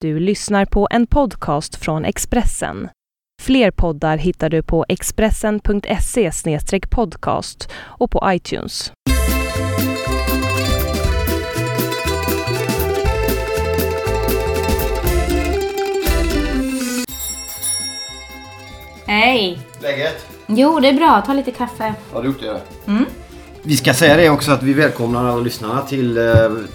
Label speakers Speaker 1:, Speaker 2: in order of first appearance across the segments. Speaker 1: Du lyssnar på en podcast från Expressen. Fler poddar hittar du på expressen.se podcast och på iTunes.
Speaker 2: Hej!
Speaker 3: Läget?
Speaker 2: Jo, det är bra. Ta lite kaffe.
Speaker 3: Har du gjort det? Vi ska säga det också att vi välkomnar alla lyssnarna till eh,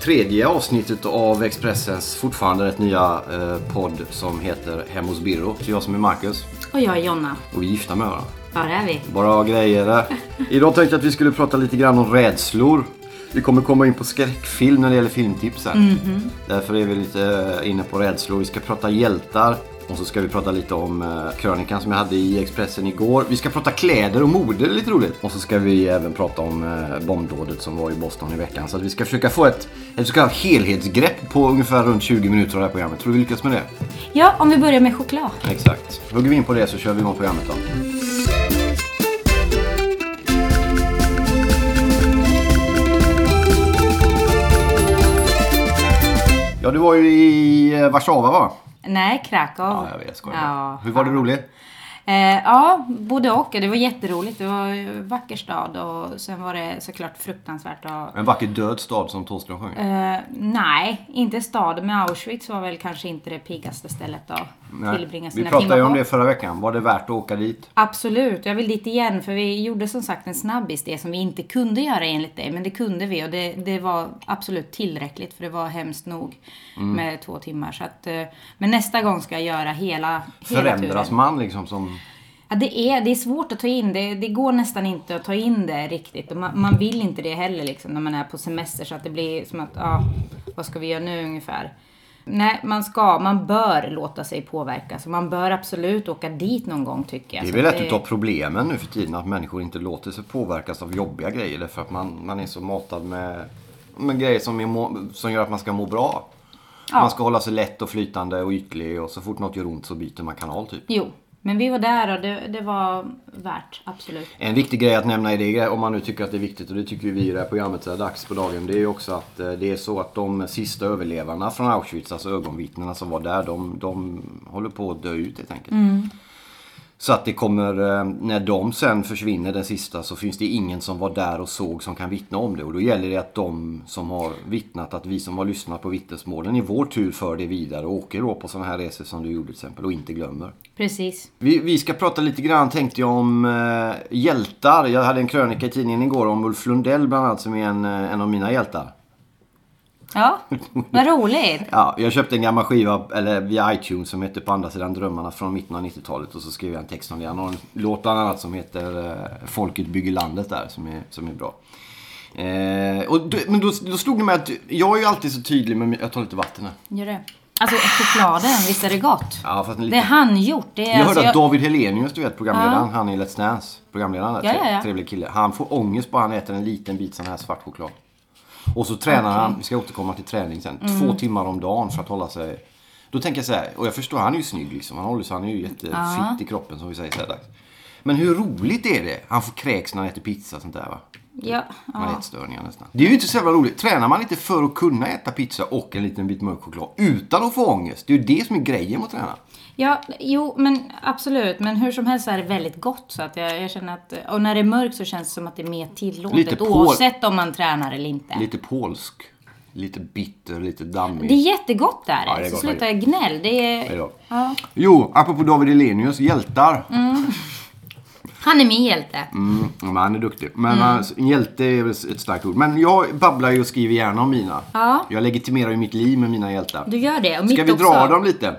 Speaker 3: tredje avsnittet av Expressens fortfarande rätt nya eh, podd som heter Hem hos Birro. Så jag som är Marcus
Speaker 2: Och jag är Jonna.
Speaker 3: och vi är gifta med varandra.
Speaker 2: Ja, det är vi.
Speaker 3: Bra grejer det. Idag tänkte jag att vi skulle prata lite grann om rädslor. Vi kommer komma in på skräckfilm när det gäller filmtipsen. Därför är vi lite eh, inne på rädslor. Vi ska prata hjältar. Och så ska vi prata lite om eh, krönikan som jag hade i Expressen igår. Vi ska prata kläder och mode, lite roligt. Och så ska vi även prata om eh, bombdådet som var i Boston i veckan. Så att vi ska försöka få ett, ett så kallat helhetsgrepp på ungefär runt 20 minuter av det här programmet. Tror du vi lyckas med det?
Speaker 2: Ja, om vi börjar med choklad.
Speaker 3: Exakt. Hugger vi in på det så kör vi igång programmet då. Ja, du var ju i eh, Warszawa va?
Speaker 2: Nej, Krakow.
Speaker 3: Ja, jag vet. Skojar
Speaker 2: Ja.
Speaker 3: Hur var det roligt?
Speaker 2: Eh, ja, både och. Det var jätteroligt. Det var en vacker stad och sen var det såklart fruktansvärt. Och,
Speaker 3: En vacker död stad som Thåström sjöng.
Speaker 2: eh, nej, inte staden, men Auschwitz var väl kanske inte det piggaste stället att
Speaker 3: Nej,
Speaker 2: tillbringa
Speaker 3: Vi
Speaker 2: sina
Speaker 3: pratade ju
Speaker 2: timmar
Speaker 3: om
Speaker 2: på.
Speaker 3: det förra veckan. Var det värt att åka dit?
Speaker 2: Absolut, jag vill dit igen för vi gjorde som sagt en snabbis, det som vi inte kunde göra enligt dig, men det kunde vi och det, det var absolut tillräckligt för det var hemskt nog
Speaker 3: Mm.
Speaker 2: med två timmar. Så att, eh, men nästa gång ska jag göra hela, hela
Speaker 3: Förändras
Speaker 2: turen.
Speaker 3: man liksom som...
Speaker 2: Ja, det, är, det är svårt att ta in, det, det går nästan inte att ta in det riktigt och man, man vill inte det heller liksom, när man är på semester så att det blir som att, ja, vad ska vi göra nu ungefär? Nej, man ska, man bör låta sig påverkas och man bör absolut åka dit någon gång tycker jag.
Speaker 3: Det är
Speaker 2: Så
Speaker 3: väl
Speaker 2: att
Speaker 3: ett utav problemen nu för tiden att människor inte låter sig påverkas av jobbiga grejer därför att man, man är så matad med, med grejer som, är må, som gör att man ska må bra.
Speaker 2: Ja.
Speaker 3: Man ska hålla sig lätt och flytande och ytlig och så fort något gör ont så byter man kanal typ.
Speaker 2: Jo, men vi var där och det, det var värt, absolut.
Speaker 3: En viktig grej att nämna i det, om man nu tycker att det är viktigt, och det tycker ju vi i det här programmet så här dags på dagen, det är ju också att eh, det är så att de sista överlevarna från Auschwitz, alltså ögonvittnena som var där, de, de håller på att dö ut helt enkelt. Så att det kommer, eh, när de sen försvinner den sista så finns det ingen som var där och såg som kan vittna om det. Och då gäller det att de som har vittnat, att vi som har lyssnat på vittnesmålen i vår tur för det vidare och åker då på sådana här resor som du gjorde till exempel och inte glömmer.
Speaker 2: Precis.
Speaker 3: Vi, vi ska prata lite grann tänkte jag om eh, hjältar. Jag hade en krönika i tidningen igår om Ulf Lundell bland annat som är en, eh, en av mina hjältar.
Speaker 2: Ja, vad roligt.
Speaker 3: Ja, jag köpte en gammal skiva eller via iTunes som heter På andra sidan drömmarna från mitten av 90-talet och så skrev jag en text om det. Han har en låt bland annat som heter eh, Folket bygger landet där som är, som är bra. Eh, och då, men då, då slog det mig att jag är ju alltid så tydlig med... min- Jag tar lite vatten här.
Speaker 2: Gör det. Alltså chokladen, visst är det gott?
Speaker 3: Ja, fast en
Speaker 2: Det är
Speaker 3: liten...
Speaker 2: handgjort. Det är
Speaker 3: Jag
Speaker 2: alltså,
Speaker 3: hörde att
Speaker 2: jag,
Speaker 3: David Helenius, du vet programledaren, han är Let's Dance. Programledaren, där,
Speaker 2: Ja, ja,
Speaker 3: tre-
Speaker 2: ja.
Speaker 3: trevlig kille. Han får ångest bara han äter en liten bit sån här svart choklad. Och så tränar han, vi ska återkomma till träning sen, två
Speaker 2: Mm.
Speaker 3: timmar om dagen för att hålla sig... Då tänker jag så här, och jag förstår, han är ju snygg liksom. Han, håller, sig- han är ju jättefitt i kroppen som vi säger så här dags. Men hur roligt är det? Han får kräks när han äter pizza och sånt där va?
Speaker 2: ja,
Speaker 3: Man
Speaker 2: ja.
Speaker 3: ätstörningar nästan. Det är ju inte så jävla roligt. Tränar man inte för att kunna äta pizza och en liten bit mörk choklad utan att få ångest? Det är ju det som är grejen med att träna.
Speaker 2: ja, jo men absolut. Men hur som helst så är det väldigt gott. Så att jag, jag känner att, och när det är mörkt så känns det som att det är mer tillåtet.
Speaker 3: Lite på-
Speaker 2: Oavsett om man tränar eller inte.
Speaker 3: Lite polsk. Lite bitter, lite dammig.
Speaker 2: Det är jättegott där.
Speaker 3: Ja, det är
Speaker 2: så
Speaker 3: gott
Speaker 2: sluta gnäll. Det
Speaker 3: Hej
Speaker 2: är,
Speaker 3: då.
Speaker 2: ja.
Speaker 3: Jo, apropå David Elenius, hjältar. Mm.
Speaker 2: Han är min hjälte.
Speaker 3: men han är duktig. Men
Speaker 2: Mm.
Speaker 3: alltså, en hjälte är väl ett starkt ord. Men jag babblar ju och skriver gärna om mina.
Speaker 2: Ja.
Speaker 3: Jag legitimerar ju mitt liv med mina hjältar.
Speaker 2: Du gör det. Och mitt
Speaker 3: Ska vi
Speaker 2: också.
Speaker 3: dra dem lite?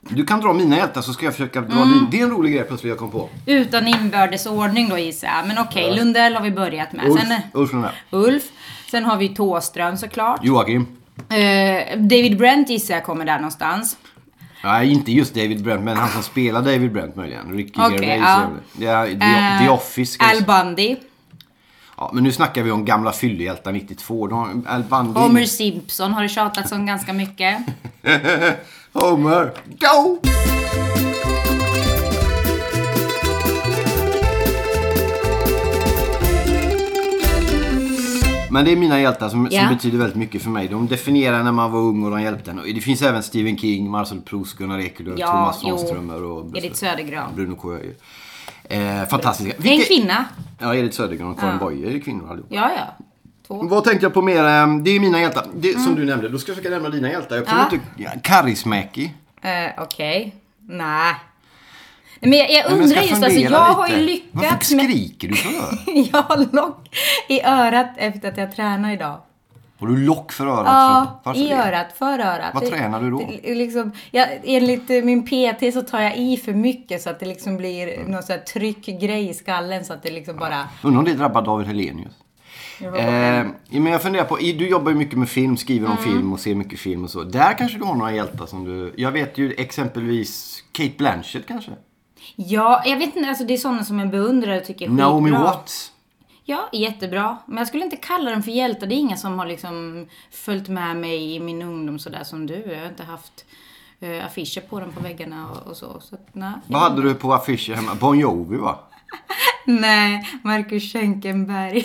Speaker 3: Du kan dra mina hjältar så ska jag försöka dra
Speaker 2: Mm.
Speaker 3: din. Det är en rolig grej plötsligt jag kom på.
Speaker 2: Utan inbördes ordning då gissar jag. Men okej, Lundell har vi börjat med.
Speaker 3: Ulf,
Speaker 2: Sen,
Speaker 3: Ulf Lundell.
Speaker 2: Ulf. Sen har vi Tåström såklart.
Speaker 3: Joakim.
Speaker 2: Eh, David Brent gissar jag kommer där någonstans.
Speaker 3: Nej, inte just David Brent, men han som spelar David Brent möjligen. Ricky
Speaker 2: Okej,
Speaker 3: Gervais.
Speaker 2: ja.
Speaker 3: är det. Ja, The, The
Speaker 2: Eh,
Speaker 3: Office. ska jag
Speaker 2: Al Bundy.
Speaker 3: Ja, men nu snackar vi om gamla fyllehjältar 92. De har Al Bundy.
Speaker 2: Homer Simpson har det tjatats om ganska mycket.
Speaker 3: Homer. Go! Men det är mina hjältar som,
Speaker 2: Ja.
Speaker 3: som betyder väldigt mycket för mig. De definierar när man var ung och de hjälpte en. Och Det finns även Stephen King, Marcel Proust, Gunnar Ekelöf,
Speaker 2: Ja,
Speaker 3: Thomas
Speaker 2: jo.
Speaker 3: Svanströmer och
Speaker 2: Edith Södergran.
Speaker 3: Bruno Coelho. Eh, fantastiska.
Speaker 2: En
Speaker 3: Vilka-
Speaker 2: kvinna.
Speaker 3: Ja, Edith Södergran och Karin Boye är kvinnor allihop.
Speaker 2: Ja, ja. Två.
Speaker 3: Vad tänkte jag på mer? Eh, Det är mina hjältar. Det, Som du nämnde, då ska jag försöka nämna dina hjältar. Jag kommer
Speaker 2: Mm. Ja.
Speaker 3: inte... Ja, Karismäki.
Speaker 2: Eh, Okej. Nej. Men jag, jag
Speaker 3: Nej, men
Speaker 2: undrar
Speaker 3: ska
Speaker 2: just, alltså, jag
Speaker 3: fundera
Speaker 2: har ju
Speaker 3: lite. Varför
Speaker 2: lyckats med...
Speaker 3: skriker du för?
Speaker 2: jag har lock i örat efter att jag tränar idag.
Speaker 3: Har du lock för örat?
Speaker 2: Ja,
Speaker 3: Alltså, Varför
Speaker 2: i
Speaker 3: det?
Speaker 2: örat, för örat.
Speaker 3: Vad tränar du då?
Speaker 2: Det- det- Liksom, jag, enligt eh, min PT så tar jag i för mycket så att det liksom blir
Speaker 3: Mm.
Speaker 2: någon sån här tryckgrej i skallen så att det liksom bara...
Speaker 3: Undrar om det drabbar David Helenius. Eh, men jag funderar på, i- du jobbar ju mycket med film, skriver
Speaker 2: Mm.
Speaker 3: om film och ser mycket film och så. Där kanske du har några hjältar som du... Jag vet ju exempelvis Kate Blanchett kanske?
Speaker 2: Ja, jag vet inte, alltså det är sådana som jag beundrar och tycker är
Speaker 3: Naomi
Speaker 2: skitbra.
Speaker 3: Watts?
Speaker 2: Ja, jättebra. Men jag skulle inte kalla dem för hjältar. Det är inga som har liksom följt med mig i min ungdom sådär som du. Jag har inte haft eh, affischer på dem på väggarna och, och så. så att, nej.
Speaker 3: Vad hade du på affischer hemma? Bon Jovi va?
Speaker 2: nej, Marcus Schenkenberg.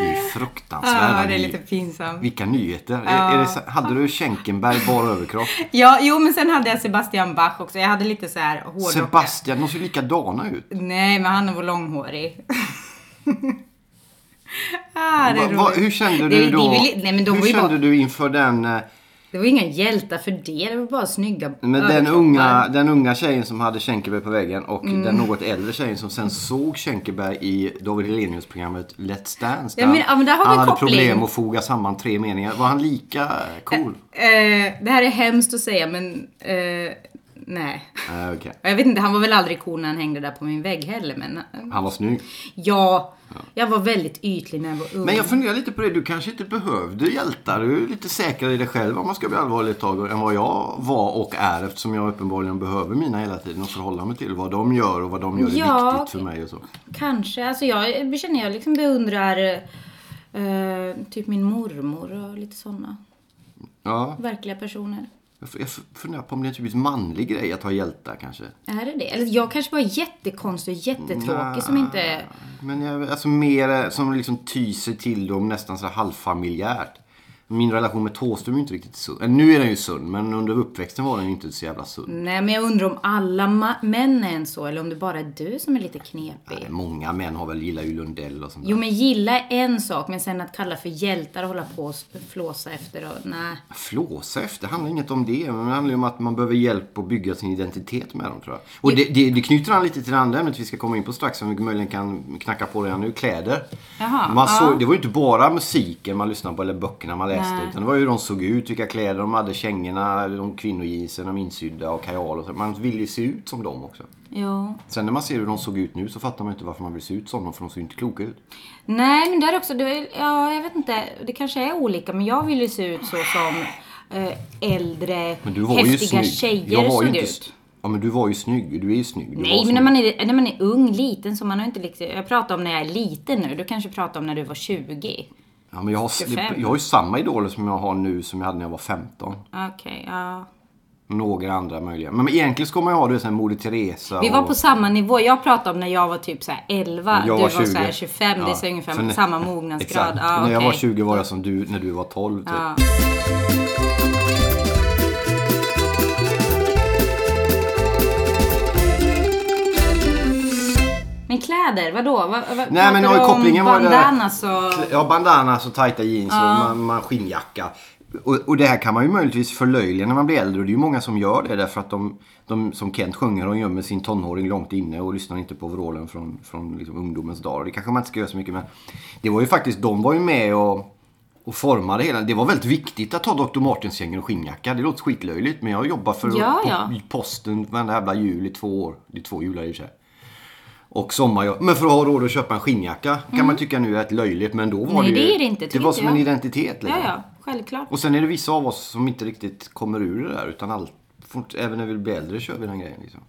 Speaker 3: Det är fruktansvärda
Speaker 2: Ja, det är
Speaker 3: nyheter.
Speaker 2: lite pinsamt.
Speaker 3: Vilka nyheter! Är, är det, så- hade du Schenkenberg bara överkropp?
Speaker 2: Ja, jo men sen hade jag Sebastian Bach också. Jag hade lite så här hårdrock.
Speaker 3: Sebastian, de ser likadana ut.
Speaker 2: Nej, men han var långhårig. ah, det är
Speaker 3: Va, va,
Speaker 2: roligt.
Speaker 3: hur kände
Speaker 2: Det-
Speaker 3: du
Speaker 2: det
Speaker 3: då?
Speaker 2: är väl- nej, men de var
Speaker 3: hur
Speaker 2: ju bara-
Speaker 3: kände du inför den... eh,
Speaker 2: Det var inga hjältar för det. Det var bara snygga
Speaker 3: Men den
Speaker 2: överkroppar.
Speaker 3: unga, den unga tjejen som hade Schenkeberg på väggen och
Speaker 2: Mm.
Speaker 3: den något äldre tjejen som sen såg Schenkeberg i David Hellenius programmet Let's Dance.
Speaker 2: Ja,
Speaker 3: där
Speaker 2: men- ja, men där har vi
Speaker 3: han hade
Speaker 2: koppling.
Speaker 3: problem att foga samman tre meningar. Var han lika cool?
Speaker 2: Eh, det här är hemskt att säga men eh, nej.
Speaker 3: Äh, okej.
Speaker 2: Jag vet inte, han var väl aldrig cool när han hängde där på min vägg heller men eh,
Speaker 3: Han var snygg.
Speaker 2: ja, jag var väldigt ytlig när jag var ung.
Speaker 3: Men jag funderar lite på det. Du kanske inte behövde hjältar. Du är lite säkrare i dig själv om man ska bli allvarlig ett tag än vad jag var och är eftersom jag uppenbarligen behöver mina hela tiden och förhålla mig till vad de gör och vad de gör är
Speaker 2: Ja,
Speaker 3: viktigt för
Speaker 2: okej.
Speaker 3: mig och så.
Speaker 2: Kanske, alltså jag jag känner jag liksom beundrar eh, typ min mormor och lite sådana
Speaker 3: Ja,
Speaker 2: verkliga personer.
Speaker 3: jag f- jag f- funderar på om det är en typiskt manlig grej att ha hjältar kanske.
Speaker 2: Är det det? Eller jag kanske var jättekonstig och jättetråkig som inte...
Speaker 3: Men jag, alltså mer eh, som liksom tyser till dem nästan så här halvfamiljärt. Min relation med Thåström är ju inte riktigt sund. Eh, Nu är den ju sund, men under uppväxten var den ju inte så jävla sund.
Speaker 2: Nej men jag undrar om alla ma- män är en så eller om det bara är du som är lite knepig.
Speaker 3: Eh, Många män har väl gillat ju Lundell och sånt där.
Speaker 2: Jo men gilla är en sak, men sen att kalla för hjältar och hålla på och flåsa efter och nej.
Speaker 3: Flåsa efter, det handlar inget om det. Men det handlar ju om att man behöver hjälp att bygga sin identitet med dem tror jag. Och det, det, det knyter an lite till det andra ämnet vi ska komma in på strax som vi möjligen kan knacka på redan nu. Kläder.
Speaker 2: Jaha,
Speaker 3: man
Speaker 2: ja.
Speaker 3: såg, det var ju inte bara musiken man lyssnade på eller böckerna man läste. Utan det var ju hur de såg ut, vilka kläder de hade, kängorna, de kvinnojeansen, de insydda och kajal och så. Man ville ju se ut som dem också.
Speaker 2: Jo.
Speaker 3: Sen när man ser hur de såg ut nu så fattar man ju inte varför man vill se ut som dem för de ser ju inte kloka ut.
Speaker 2: Nej men där också, det, är- ja jag vet inte, det kanske är olika men jag vill ju se ut så som eh, äldre,
Speaker 3: Men du var ju
Speaker 2: häftiga
Speaker 3: snygg.
Speaker 2: tjejer
Speaker 3: var ju
Speaker 2: såg
Speaker 3: inte
Speaker 2: ut.
Speaker 3: s- Ja men du var ju snygg. Du är ju snygg. Du var
Speaker 2: Nej men när
Speaker 3: snygg.
Speaker 2: man, är, när man är ung, liten så man har inte liksom, jag pratar om när jag är liten nu, du kanske pratar om när du var 20.
Speaker 3: Ja, men jag, har,
Speaker 2: 25.
Speaker 3: jag har ju samma idoler som jag har nu som jag hade när jag var 15.
Speaker 2: Okej, ja.
Speaker 3: Några andra möjliga. Men men egentligen ska man ju ha det sen Moder Teresa
Speaker 2: Vi var
Speaker 3: och-
Speaker 2: på samma nivå, jag pratade om när jag var typ så här 11,
Speaker 3: Jag
Speaker 2: du var, så
Speaker 3: 20.
Speaker 2: här 25, det är så
Speaker 3: Ja.
Speaker 2: ungefär
Speaker 3: Så när-
Speaker 2: samma mognadsgrad.
Speaker 3: Exakt.
Speaker 2: Ja,
Speaker 3: När jag var
Speaker 2: okej.
Speaker 3: 20 var jag som du när du var 12. Typ.
Speaker 2: Ja. Men kläder, vadå? Vad, vad,
Speaker 3: Nej
Speaker 2: pratar
Speaker 3: men har
Speaker 2: du
Speaker 3: ju
Speaker 2: om
Speaker 3: kopplingen var ju det där-
Speaker 2: bandanas och...
Speaker 3: Ja bandanas och tajta jeans och man, man skinnjacka. Och, och det här kan man ju möjligtvis förlöjliga när man blir äldre och det är ju många som gör det därför att de, de som Kent sjunger, de gömmer sin tonåring långt inne och lyssnar inte på vrålen från, från liksom ungdomens dagar. Det kanske man inte ska göra så mycket men det var ju faktiskt, de var ju med och, och formade hela, det var väldigt viktigt att ha Dr. Martens kängor och skinnjacka. Det låter skitlöjligt men jag jobbar för
Speaker 2: Ja,
Speaker 3: på,
Speaker 2: ja.
Speaker 3: i posten varenda jävla jul i två år. Det är två jular i och för sig. Och sommarjobb. Men för att ha råd att köpa en skinnjacka kan man tycka nu är ett löjligt men då var
Speaker 2: Mm. Nej,
Speaker 3: det ju...
Speaker 2: det är det inte,
Speaker 3: Det
Speaker 2: tycker
Speaker 3: var
Speaker 2: inte
Speaker 3: som
Speaker 2: jag.
Speaker 3: en identitet
Speaker 2: Ja,
Speaker 3: liksom.
Speaker 2: ja, självklart.
Speaker 3: Och sen är det vissa av oss som inte riktigt kommer ur det där utan allt, fort- även när vi blir äldre kör vi den grejen liksom.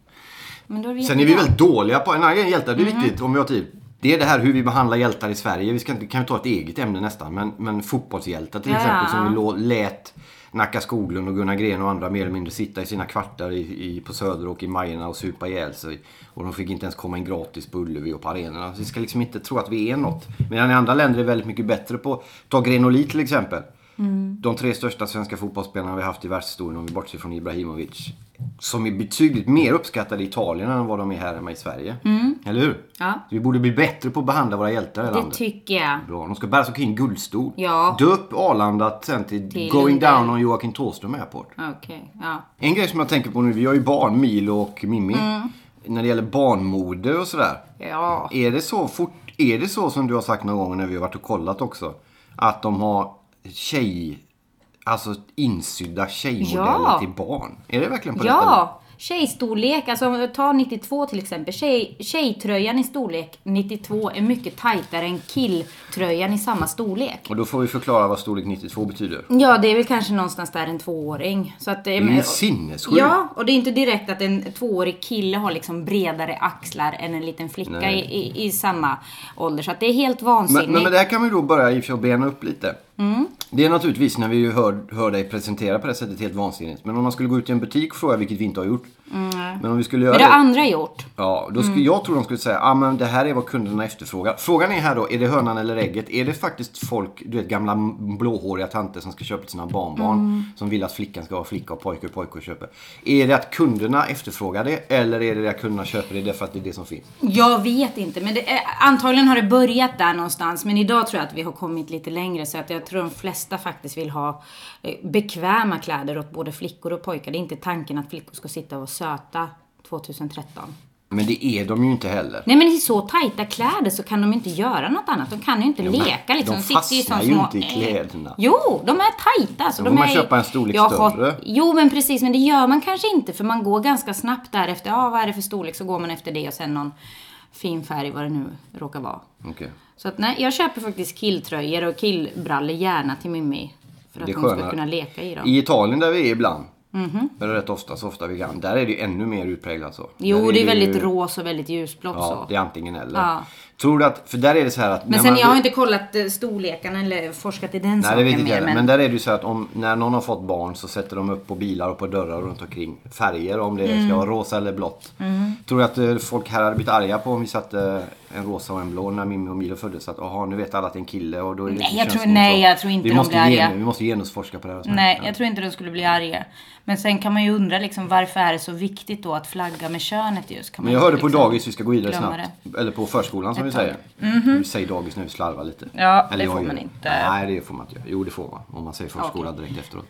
Speaker 2: Men då är det
Speaker 3: Sen är vi
Speaker 2: jättebra. Mm.
Speaker 3: väldigt dåliga på, en annan grej hjältar, det är viktigt om vi har tid. Det är det här hur vi behandlar hjältar i Sverige. Vi ska, inte- kan ju ta ett eget ämne nästan. Men, men fotbollshjältar till
Speaker 2: Ja,
Speaker 3: exempel
Speaker 2: ja.
Speaker 3: som vi lå- lät Nacka Skoglund och Gunnar Gren och andra mer eller mindre sitta i sina kvartar i, i, på Söder och i Majorna och supa ihjäl sig. Och de fick inte ens komma in gratis på Ullevi och på arenorna. Så vi ska liksom inte tro att vi är något. Medan i andra länder är väldigt mycket bättre på, ta Grenoli till exempel.
Speaker 2: Mm.
Speaker 3: De tre största svenska fotbollsspelarna vi haft i världshistorien om vi bortser från Ibrahimovic. Som är betydligt mer uppskattade i Italien än vad de är här hemma i Sverige. Eller hur?
Speaker 2: Mm. Ja.
Speaker 3: Så vi borde bli bättre på att behandla våra hjältar i
Speaker 2: Det
Speaker 3: landet.
Speaker 2: tycker jag.
Speaker 3: Bra. De ska bära sig omkring i guldstol.
Speaker 2: Ja.
Speaker 3: Döp Arlanda sen till,
Speaker 2: Till
Speaker 3: Going
Speaker 2: Lindell.
Speaker 3: Down on Joakim Thåström Airport.
Speaker 2: Okej, ja.
Speaker 3: En grej som jag tänker på nu, vi har ju barn, Milo och Mimmi. När det gäller barnmode och sådär.
Speaker 2: Mm. Ja.
Speaker 3: Är det, så fort, är det så som du har sagt någon gång när vi har varit och kollat också? Att de har tjej... Alltså insydda tjejmodeller
Speaker 2: Ja.
Speaker 3: till barn. Är det verkligen på det stället?
Speaker 2: Ja! Tjejstorlek, alltså om vi tar 92 till exempel. Tjej, tjejtröjan i storlek 92 är mycket tajtare än killtröjan i samma storlek.
Speaker 3: Och då får vi förklara vad storlek 92 betyder.
Speaker 2: Ja, det är väl kanske någonstans där en tvååring. Så att, det
Speaker 3: är ju sinnessjukt.
Speaker 2: Ja, och det är inte direkt att en tvåårig kille har liksom bredare axlar än en liten flicka i,
Speaker 3: Nej.
Speaker 2: i, i samma ålder. Så att det är helt vansinnigt.
Speaker 3: Men, men, men det här kan vi då börja i och för sig att bena upp lite. Det är naturligtvis när vi ju hör, hör dig presentera på det här sättet helt vansinnigt. Men om man skulle gå ut i en butik och fråga, vilket vi inte har gjort. Men om vi skulle göra
Speaker 2: Men det
Speaker 3: det.
Speaker 2: har andra gjort.
Speaker 3: Ja, då skulle, jag tror de skulle säga, ah, men det här är vad kunderna efterfrågar. Frågan är här då, är det hönan eller ägget? Är det faktiskt folk, du vet gamla m- blåhåriga tanter som ska köpa till sina barnbarn. Som vill att flickan ska vara flicka och pojke och pojke och köper. Är det att kunderna efterfrågar det? Eller är det det att kunderna köper det därför att det är det som finns?
Speaker 2: Jag vet inte, men det, är- antagligen har det börjat där någonstans. Men idag tror jag att vi har kommit lite längre. Så att jag tror de flesta faktiskt vill ha eh, bekväma kläder åt både flickor och pojkar. Det är inte tanken att flickor ska sitta och vara söta 2013.
Speaker 3: Men det är de ju inte heller.
Speaker 2: Nej men i så tajta kläder så kan de inte göra något annat. De kan ju inte leka liksom.
Speaker 3: de
Speaker 2: sitter ju som
Speaker 3: fastnar ju
Speaker 2: små-
Speaker 3: inte i kläderna.
Speaker 2: Jo, de är tajta. Alltså,
Speaker 3: Då
Speaker 2: de
Speaker 3: får man
Speaker 2: är...
Speaker 3: köpa en storlek
Speaker 2: Jag har-
Speaker 3: större.
Speaker 2: Jo men precis, men det gör man kanske inte för man går ganska snabbt därefter. Ja, vad är det för storlek? Så går man efter det och sen någon fin färg, vad det nu råkar vara.
Speaker 3: Okej.
Speaker 2: Så att nej, jag köper faktiskt killtröjor och killbrallor gärna till Mimmi. För att
Speaker 3: Det är
Speaker 2: hon ska
Speaker 3: skönare.
Speaker 2: kunna leka i dem. Mhm.
Speaker 3: I Italien där vi är ibland, eller rätt ofta, så ofta vi kan, där är det ju ännu mer utpräglat så. Där
Speaker 2: Jo, det är väldigt
Speaker 3: ju-
Speaker 2: rosa och väldigt ljusblått
Speaker 3: Ja,
Speaker 2: så.
Speaker 3: det är antingen eller.
Speaker 2: Ja.
Speaker 3: Tror du att, för där är det så här att... när
Speaker 2: Men sen,
Speaker 3: man-
Speaker 2: jag har inte kollat eh, storlekarna eller forskat i den
Speaker 3: Nej,
Speaker 2: saken
Speaker 3: det vet inte
Speaker 2: mer,
Speaker 3: heller. Men där är det ju så att om, när någon har fått barn så sätter de upp på bilar och på dörrar runt omkring färger om det
Speaker 2: Mm.
Speaker 3: ska vara rosa eller blått. Tror du att eh, folk här hade blivit arga på om vi satte en rosa och en blå när Mimmi och Milo föddes? Att aha, nu vet alla att det är en kille och då är det
Speaker 2: Nej,
Speaker 3: inte
Speaker 2: jag tror-
Speaker 3: könsneutralt.
Speaker 2: nej, jag tror inte
Speaker 3: vi
Speaker 2: de
Speaker 3: måste
Speaker 2: blir arga.
Speaker 3: gen- Vi måste genusforska på det här. och så här.
Speaker 2: Nej,
Speaker 3: Ja.
Speaker 2: jag tror inte de skulle bli arga. Men sen kan man ju undra liksom, varför är det så viktigt då att flagga med könet just? Kan man
Speaker 3: Men jag
Speaker 2: inte
Speaker 3: hörde på
Speaker 2: liksom
Speaker 3: dagis, vi ska gå vidare
Speaker 2: glömma
Speaker 3: snabbt. Eller på förskolan som vi säger. Vi säger dagis nu, slarvar lite.
Speaker 2: Mhm. Ja, det
Speaker 3: Eller jag
Speaker 2: får
Speaker 3: gör
Speaker 2: man inte.
Speaker 3: Nej, det får man inte göra. Jo, det får man. Om man säger förskola direkt efteråt.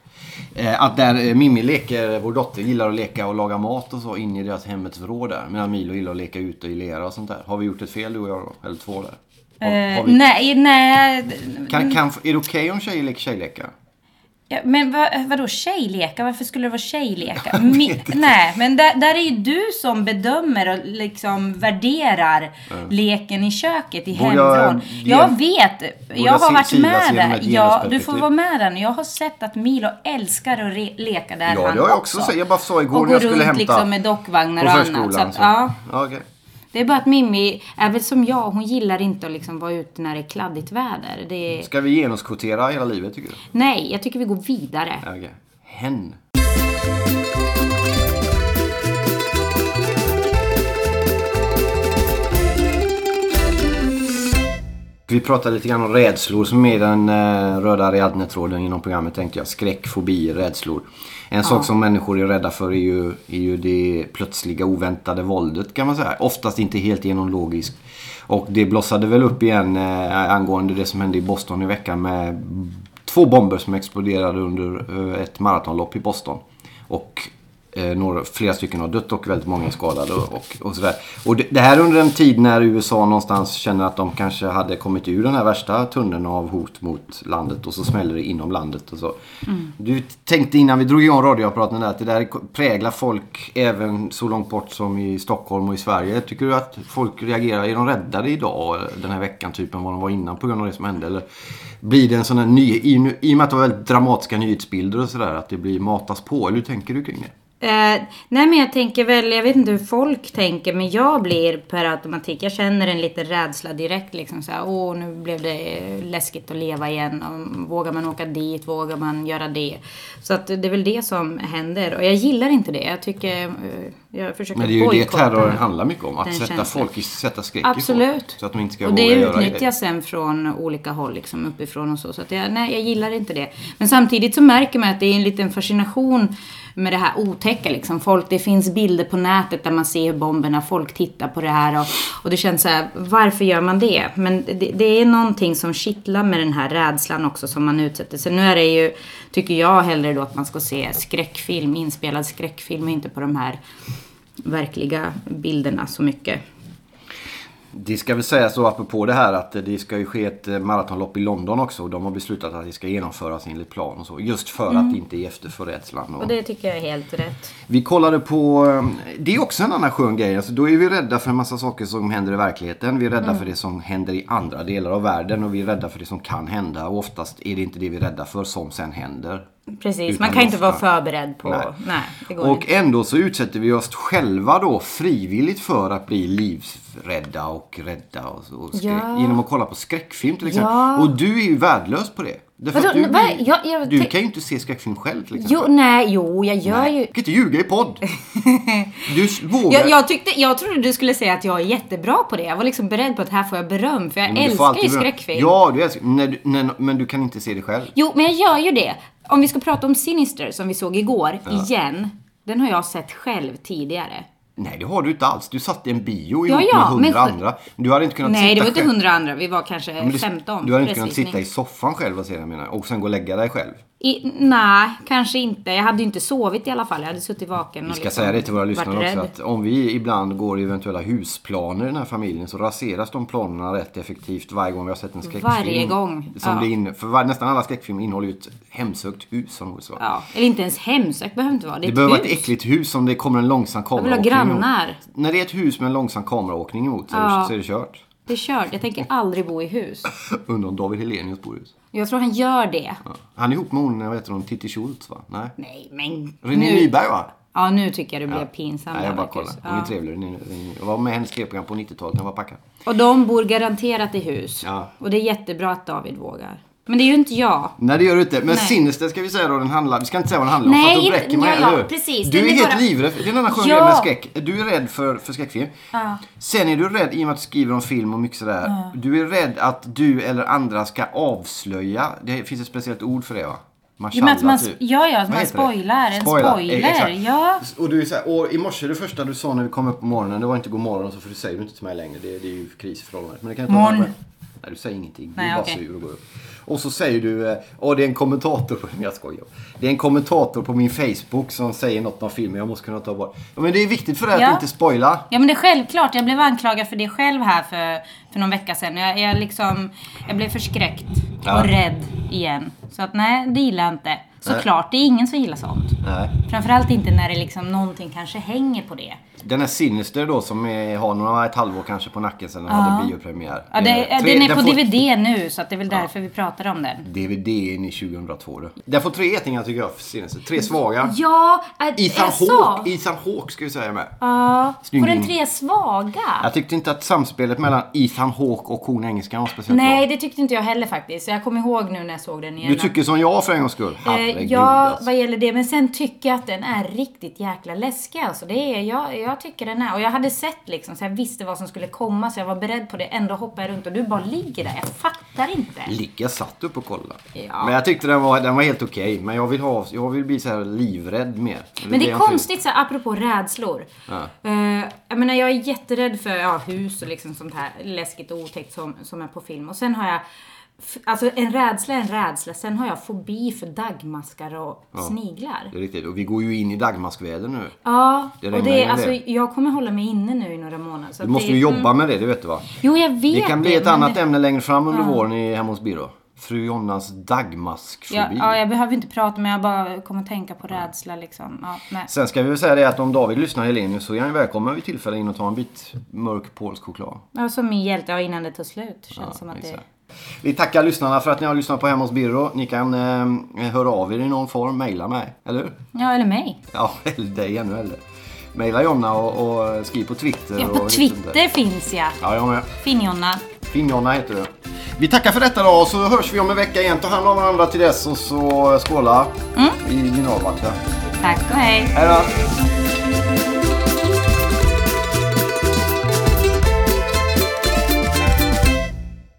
Speaker 3: Eh, att där eh, Mimmi leker, vår dotter gillar att leka och laga mat och så in i deras hemmets vrå där. Medan Milo gillar att leka ute i lera och sånt där. Har vi gjort ett fel du och jag då? Eller två där? Har, har
Speaker 2: Eh,
Speaker 3: vi...
Speaker 2: nej, nej.
Speaker 3: kan, kan, är det okej om tjejer leker tjejlekar?
Speaker 2: Ja, men vad, vadå tjejlekar? Varför skulle det vara tjejlekar? Mi, nej, men där, där är ju du som bedömer och liksom värderar leken i köket i
Speaker 3: Borde jag,
Speaker 2: hemvrån.
Speaker 3: eh,
Speaker 2: Jag
Speaker 3: ge-
Speaker 2: vet.
Speaker 3: jag
Speaker 2: Jag har
Speaker 3: si-
Speaker 2: varit
Speaker 3: silas
Speaker 2: med
Speaker 3: genom ett
Speaker 2: där. Ja, du får
Speaker 3: genusperspektiv?
Speaker 2: vara med där. Jag har sett att Milo älskar att re, leka där
Speaker 3: Ja,
Speaker 2: han
Speaker 3: det har jag också sett. Jag bara sa igår
Speaker 2: och
Speaker 3: när jag skulle
Speaker 2: runt
Speaker 3: hämta
Speaker 2: liksom med dockvagnar och
Speaker 3: på
Speaker 2: annat. Så
Speaker 3: förskolan.
Speaker 2: att, ja,
Speaker 3: Ja, okej.
Speaker 2: det är bara att Mimmi är väl som jag. Hon gillar inte att liksom vara ute när det är kladdigt väder. Det är,
Speaker 3: Ska vi genuskvotera hela livet tycker du?
Speaker 2: nej, jag tycker vi går vidare.
Speaker 3: Ja, Okej. Hen. Vi pratade lite grann om rädslor som är den eh, röda Ariadne-tråden inom programmet tänkte jag. Skräck, fobi, rädslor. En sak som människor är rädda för är ju, är ju det plötsliga oväntade våldet kan man säga. Oftast inte helt genom logiskt. Och det blossade väl upp igen eh, angående det som hände i Boston i veckan med två bomber som exploderade under eh, ett maratonlopp i Boston. Och eh, några, flera stycken har dött och väldigt många är skadade och, och, och sådär. Och det, det här under en tid när USA någonstans känner att de kanske hade kommit ur den här värsta tunneln av hot mot landet och så smäller det inom landet och så. Du tänkte innan vi drog igång radioapparaten där att det där präglar folk även så långt bort som i Stockholm och i Sverige. Tycker du att folk reagerar? Är de räddare idag eh, den här veckan typ än vad de var innan på grund av det som hände? Eller blir det en sån här ny... I, i och med att det var väldigt dramatiska nyhetsbilder och sådär att det blir matas på. Eller hur tänker du kring det?
Speaker 2: Eh, nej men jag tänker väl, jag vet inte hur folk tänker men jag blir per automatik, jag känner en liten rädsla direkt liksom så här, åh nu blev det läskigt att leva igen, och, vågar man åka dit, vågar man göra det? Så att det är väl det som händer och jag gillar inte det, jag tycker, eh, jag försöker
Speaker 3: Men det är ju det
Speaker 2: bojkotta
Speaker 3: terrorn handlar mycket om.
Speaker 2: den
Speaker 3: Att sätta,
Speaker 2: känslan.
Speaker 3: folk i, sätta skräck i folk.
Speaker 2: Absolut.
Speaker 3: Så att de inte ska
Speaker 2: och
Speaker 3: våga
Speaker 2: det
Speaker 3: göra
Speaker 2: utnyttjas sen från olika håll, liksom uppifrån och så. Så att jag, nej, jag gillar inte det. Men samtidigt så märker man att det är en liten fascination med det här otäcka liksom. Folk, det finns bilder på nätet där man ser bomberna, folk tittar på det här och, och det känns så här, varför gör man det? Men det, det är någonting som kittlar med den här rädslan också som man utsätter sig. Nu är det ju, tycker jag hellre då att man ska se skräckfilm, inspelad skräckfilm och inte på de här verkliga bilderna så mycket.
Speaker 3: Det ska väl sägas så apropå det här att det ska ju ske ett eh, maratonlopp i London också. Och de har beslutat att det ska genomföras enligt plan och så. Just för att inte ge efter för rädslan. Och
Speaker 2: Mm. Och det tycker jag är helt rätt.
Speaker 3: Vi kollade på, eh, det är också en annan skön grej. Alltså, då är vi rädda för en massa saker som händer i verkligheten. Vi är rädda
Speaker 2: Mm.
Speaker 3: för det som händer i andra delar av världen. Och vi är rädda för det som kan hända. Och oftast är det inte det vi är rädda för som sen händer.
Speaker 2: Precis,
Speaker 3: Utan
Speaker 2: man kan inte vara
Speaker 3: ofta.
Speaker 2: förberedd på...
Speaker 3: Nej.
Speaker 2: Nej, det går
Speaker 3: Och
Speaker 2: inte.
Speaker 3: ändå så utsätter vi oss själva då frivilligt för att bli livrädda och rädda och, och skräck,
Speaker 2: Ja.
Speaker 3: genom att kolla på skräckfilm till exempel.
Speaker 2: Ja.
Speaker 3: Och du är ju värdelös på det. Därför att
Speaker 2: Vadå?
Speaker 3: du,
Speaker 2: Va? Jag- jag
Speaker 3: du
Speaker 2: tänk-
Speaker 3: kan ju inte se skräckfilm själv till exempel.
Speaker 2: Jo, nej, jo, jag gör ju...
Speaker 3: Du kan inte ljuga i podd. Du s- vågar.
Speaker 2: Jag, jag, tyckte, jag trodde du skulle säga att jag är jättebra på det. Jag var liksom beredd på att här får jag beröm, för jag
Speaker 3: Men du får
Speaker 2: älskar ju
Speaker 3: alltid-
Speaker 2: skräckfilm.
Speaker 3: Ja, du älskar. Nej, du, nej, men du kan inte se det själv.
Speaker 2: Jo, men jag gör ju det. Om vi ska prata om Sinister, som vi såg igår, igen. Den har jag sett själv tidigare.
Speaker 3: Nej, det har du inte alls. Du satt i en bio
Speaker 2: Ja,
Speaker 3: ihop
Speaker 2: ja,
Speaker 3: med hundra
Speaker 2: men-
Speaker 3: andra. Du hade inte kunnat
Speaker 2: Nej, det
Speaker 3: sitta
Speaker 2: var inte
Speaker 3: själv.
Speaker 2: hundra andra. Vi var
Speaker 3: Ja, men
Speaker 2: kanske
Speaker 3: du-
Speaker 2: 15.
Speaker 3: Du hade inte kunnat
Speaker 2: pressvisning.
Speaker 3: sitta i soffan själv och se den menar jag. Och sen gå och lägga dig själv.
Speaker 2: I, nej, kanske inte. Jag hade ju inte sovit i alla fall. Jag hade suttit vaken och
Speaker 3: Vi ska säga det till våra
Speaker 2: Liksom varit
Speaker 3: lyssnare också
Speaker 2: rädd.
Speaker 3: att om vi ibland går i eventuella husplaner i den här familjen så raseras de planerna rätt effektivt varje gång vi har sett en skräckfilm.
Speaker 2: Varje gång,
Speaker 3: Som
Speaker 2: ja.
Speaker 3: det in, för var, nästan alla skräckfilmer innehåller ju ett hemsökt hus. Om det så.
Speaker 2: Ja, eller inte ens hemsökt behöver inte vara. Det, är
Speaker 3: Det behöver vara
Speaker 2: ett
Speaker 3: ett
Speaker 2: hus.
Speaker 3: äckligt hus om det kommer en långsam
Speaker 2: vill ha
Speaker 3: kameraåkning
Speaker 2: grannar.
Speaker 3: emot. När det är ett hus med en långsam kameraåkning emot så, är det-
Speaker 2: Ja.
Speaker 3: så är det kört.
Speaker 2: Det är kört. Jag tänker aldrig bo i hus.
Speaker 3: Undrar om David Hellenius bor i hus.
Speaker 2: Jag tror han gör det.
Speaker 3: Ja. Han är ihop med hon, vad heter hon, Titti Schultz va? Nej?
Speaker 2: Nej, men
Speaker 3: René
Speaker 2: nu.
Speaker 3: Nyberg va?
Speaker 2: Ja, nu tycker jag det blev pinsamt.
Speaker 3: Nej,
Speaker 2: där,
Speaker 3: jag bara kollar.
Speaker 2: Marcus.
Speaker 3: Hon är
Speaker 2: Ja.
Speaker 3: trevlig. René- René- Jag var med i hennes tv-program på 90-talet när jag var packad.
Speaker 2: Och de bor garanterat i hus.
Speaker 3: Ja.
Speaker 2: Och det är jättebra att David vågar. Men det är ju inte jag.
Speaker 3: Nej det gör du inte. Men
Speaker 2: Nej.
Speaker 3: Sinister ska vi säga då den handlar, vi ska inte säga vad den handlar om
Speaker 2: Nej,
Speaker 3: för att då
Speaker 2: inte-
Speaker 3: bräcker man
Speaker 2: ja,
Speaker 3: eller
Speaker 2: ja,
Speaker 3: hur?
Speaker 2: precis.
Speaker 3: Du
Speaker 2: Den
Speaker 3: är
Speaker 2: är
Speaker 3: helt
Speaker 2: bara-
Speaker 3: livrädd, för- det är en annan skön
Speaker 2: Ja.
Speaker 3: grej med skräck. Du är rädd för, för skräckfilm. Sen är du rädd, i och med att du skriver om film och mycket sådär. Du är rädd att du eller andra ska avslöja, det finns ett speciellt ord för det va?
Speaker 2: Ja, men att man-
Speaker 3: typ.
Speaker 2: ja, ja, att
Speaker 3: Vad
Speaker 2: man
Speaker 3: heter det?
Speaker 2: spoilar, en spoiler,
Speaker 3: eh, exakt.
Speaker 2: ja.
Speaker 3: Och du är så här, och i morse det första du sa när vi kom upp på morgonen, det var inte god morgon och så för du säger du inte till mig längre. Det, det är ju kris i förhållandet. Men det kan jag ta
Speaker 2: Morgon.
Speaker 3: med mig. Nej, du säger ingenting. Du är
Speaker 2: Nej,
Speaker 3: bara
Speaker 2: okej.
Speaker 3: sur och går upp. Och så säger du, eh, åh det är en kommentator på, jag skojar. Det är en kommentator på min Facebook som säger något om filmen, jag måste kunna ta bort. Ja, men det är viktigt för dig
Speaker 2: Ja.
Speaker 3: att inte spoila.
Speaker 2: Ja men det är självklart, jag blev anklagad för det själv här för, för någon vecka sedan. Jag, jag, liksom, jag blev förskräckt och
Speaker 3: Ja.
Speaker 2: rädd igen. Så att nej, det gillar jag inte. Såklart, det är ingen som gillar sånt.
Speaker 3: Nej.
Speaker 2: Framförallt inte när det liksom någonting kanske hänger på det.
Speaker 3: Den här Sinister då som är, har några, ett halvår kanske på nacken sen den hade biopremiär.
Speaker 2: Ja, det,
Speaker 3: Eh, tre-
Speaker 2: den är på
Speaker 3: får-
Speaker 2: DVD nu så att det är väl därför vi pratar om den.
Speaker 3: DVD in i 2002 du. Den får tre getingar tycker jag, för Sinister. Tre svaga.
Speaker 2: Ja, att,
Speaker 3: Ethan
Speaker 2: jag sa.
Speaker 3: Hawke, Ethan Hawke ska vi säga med.
Speaker 2: Ja,
Speaker 3: Snygg
Speaker 2: på den
Speaker 3: in.
Speaker 2: tre svaga.
Speaker 3: Jag tyckte inte att samspelet mellan Ethan Hawke och hon engelskan var speciellt
Speaker 2: Nej, det tyckte inte jag heller faktiskt. Jag kommer ihåg nu när jag såg den
Speaker 3: bra.
Speaker 2: igen.
Speaker 3: Du tycker som jag för en gångs skull.
Speaker 2: Eh,
Speaker 3: Herregud
Speaker 2: ja,
Speaker 3: alltså.
Speaker 2: vad gäller det. Men sen tycker jag att den är riktigt jäkla läskig. Alltså, det är, jag, jag tycker den är. Och jag hade sett liksom, så jag visste vad som skulle komma så jag var beredd på det. Ändå hoppar jag runt och du bara ligger där. Jag fattar inte.
Speaker 3: Ligga satt upp och kolla.
Speaker 2: Ja.
Speaker 3: Men jag tyckte den var, den var helt okej. Men jag vill, ha, jag vill bli så här livrädd mer.
Speaker 2: Men det
Speaker 3: en
Speaker 2: är
Speaker 3: film.
Speaker 2: konstigt, så här, apropå rädslor.
Speaker 3: Ja.
Speaker 2: Eh, jag menar, jag är jätterädd för ja, hus och liksom sånt här läskigt och otäckt som, som är på film. Och sen har jag, f- alltså en rädsla är en rädsla. Sen har jag fobi för dagmaskar och sniglar.
Speaker 3: Det är riktigt. Och vi går ju in i dagmaskväder nu.
Speaker 2: Ja,
Speaker 3: Det
Speaker 2: och
Speaker 3: regnar
Speaker 2: det,
Speaker 3: ju
Speaker 2: är- alltså,
Speaker 3: det.
Speaker 2: jag kommer hålla mig inne nu i några månader. Så
Speaker 3: Du
Speaker 2: att
Speaker 3: måste
Speaker 2: det,
Speaker 3: ju jobba med det, det vet du va?
Speaker 2: Jo, jag vet
Speaker 3: Det kan bli ett
Speaker 2: men
Speaker 3: annat
Speaker 2: det-
Speaker 3: ämne längre fram under våren i, hemma hos Birro. Fru Jonnas dagmaskfobi.
Speaker 2: Ja, ja, jag behöver inte prata men jag bara kommer tänka på rädsla liksom. Ja, nej.
Speaker 3: Sen ska vi väl säga det att om David lyssnar Helenius så är han välkommen vid tillfälle in och ta en bit mörk polsk choklad.
Speaker 2: Ja, som min hjälte, ja, innan det tar slut. Känns som att det...
Speaker 3: exakt. Vi tackar lyssnarna för att ni har lyssnat på Hemma hos Birro. Ni kan eh, höra av er i någon form, mejla mig, eller hur?
Speaker 2: Ja, eller mig.
Speaker 3: Ja, eller dig ännu eller. Mejla Jonna och, och skriv på Twitter.
Speaker 2: Ja,
Speaker 3: och
Speaker 2: på
Speaker 3: lite sånt
Speaker 2: Twitter
Speaker 3: där.
Speaker 2: finns jag.
Speaker 3: Ja, jag med.
Speaker 2: Finn-Jonna.
Speaker 3: Finn-Jonna heter du. Vi tackar för detta då och så hörs vi om en vecka igen. Ta hand om varandra till dess och så skåla
Speaker 2: Mm.
Speaker 3: i mineralvatten.
Speaker 2: Tack och hej.
Speaker 3: Hej då!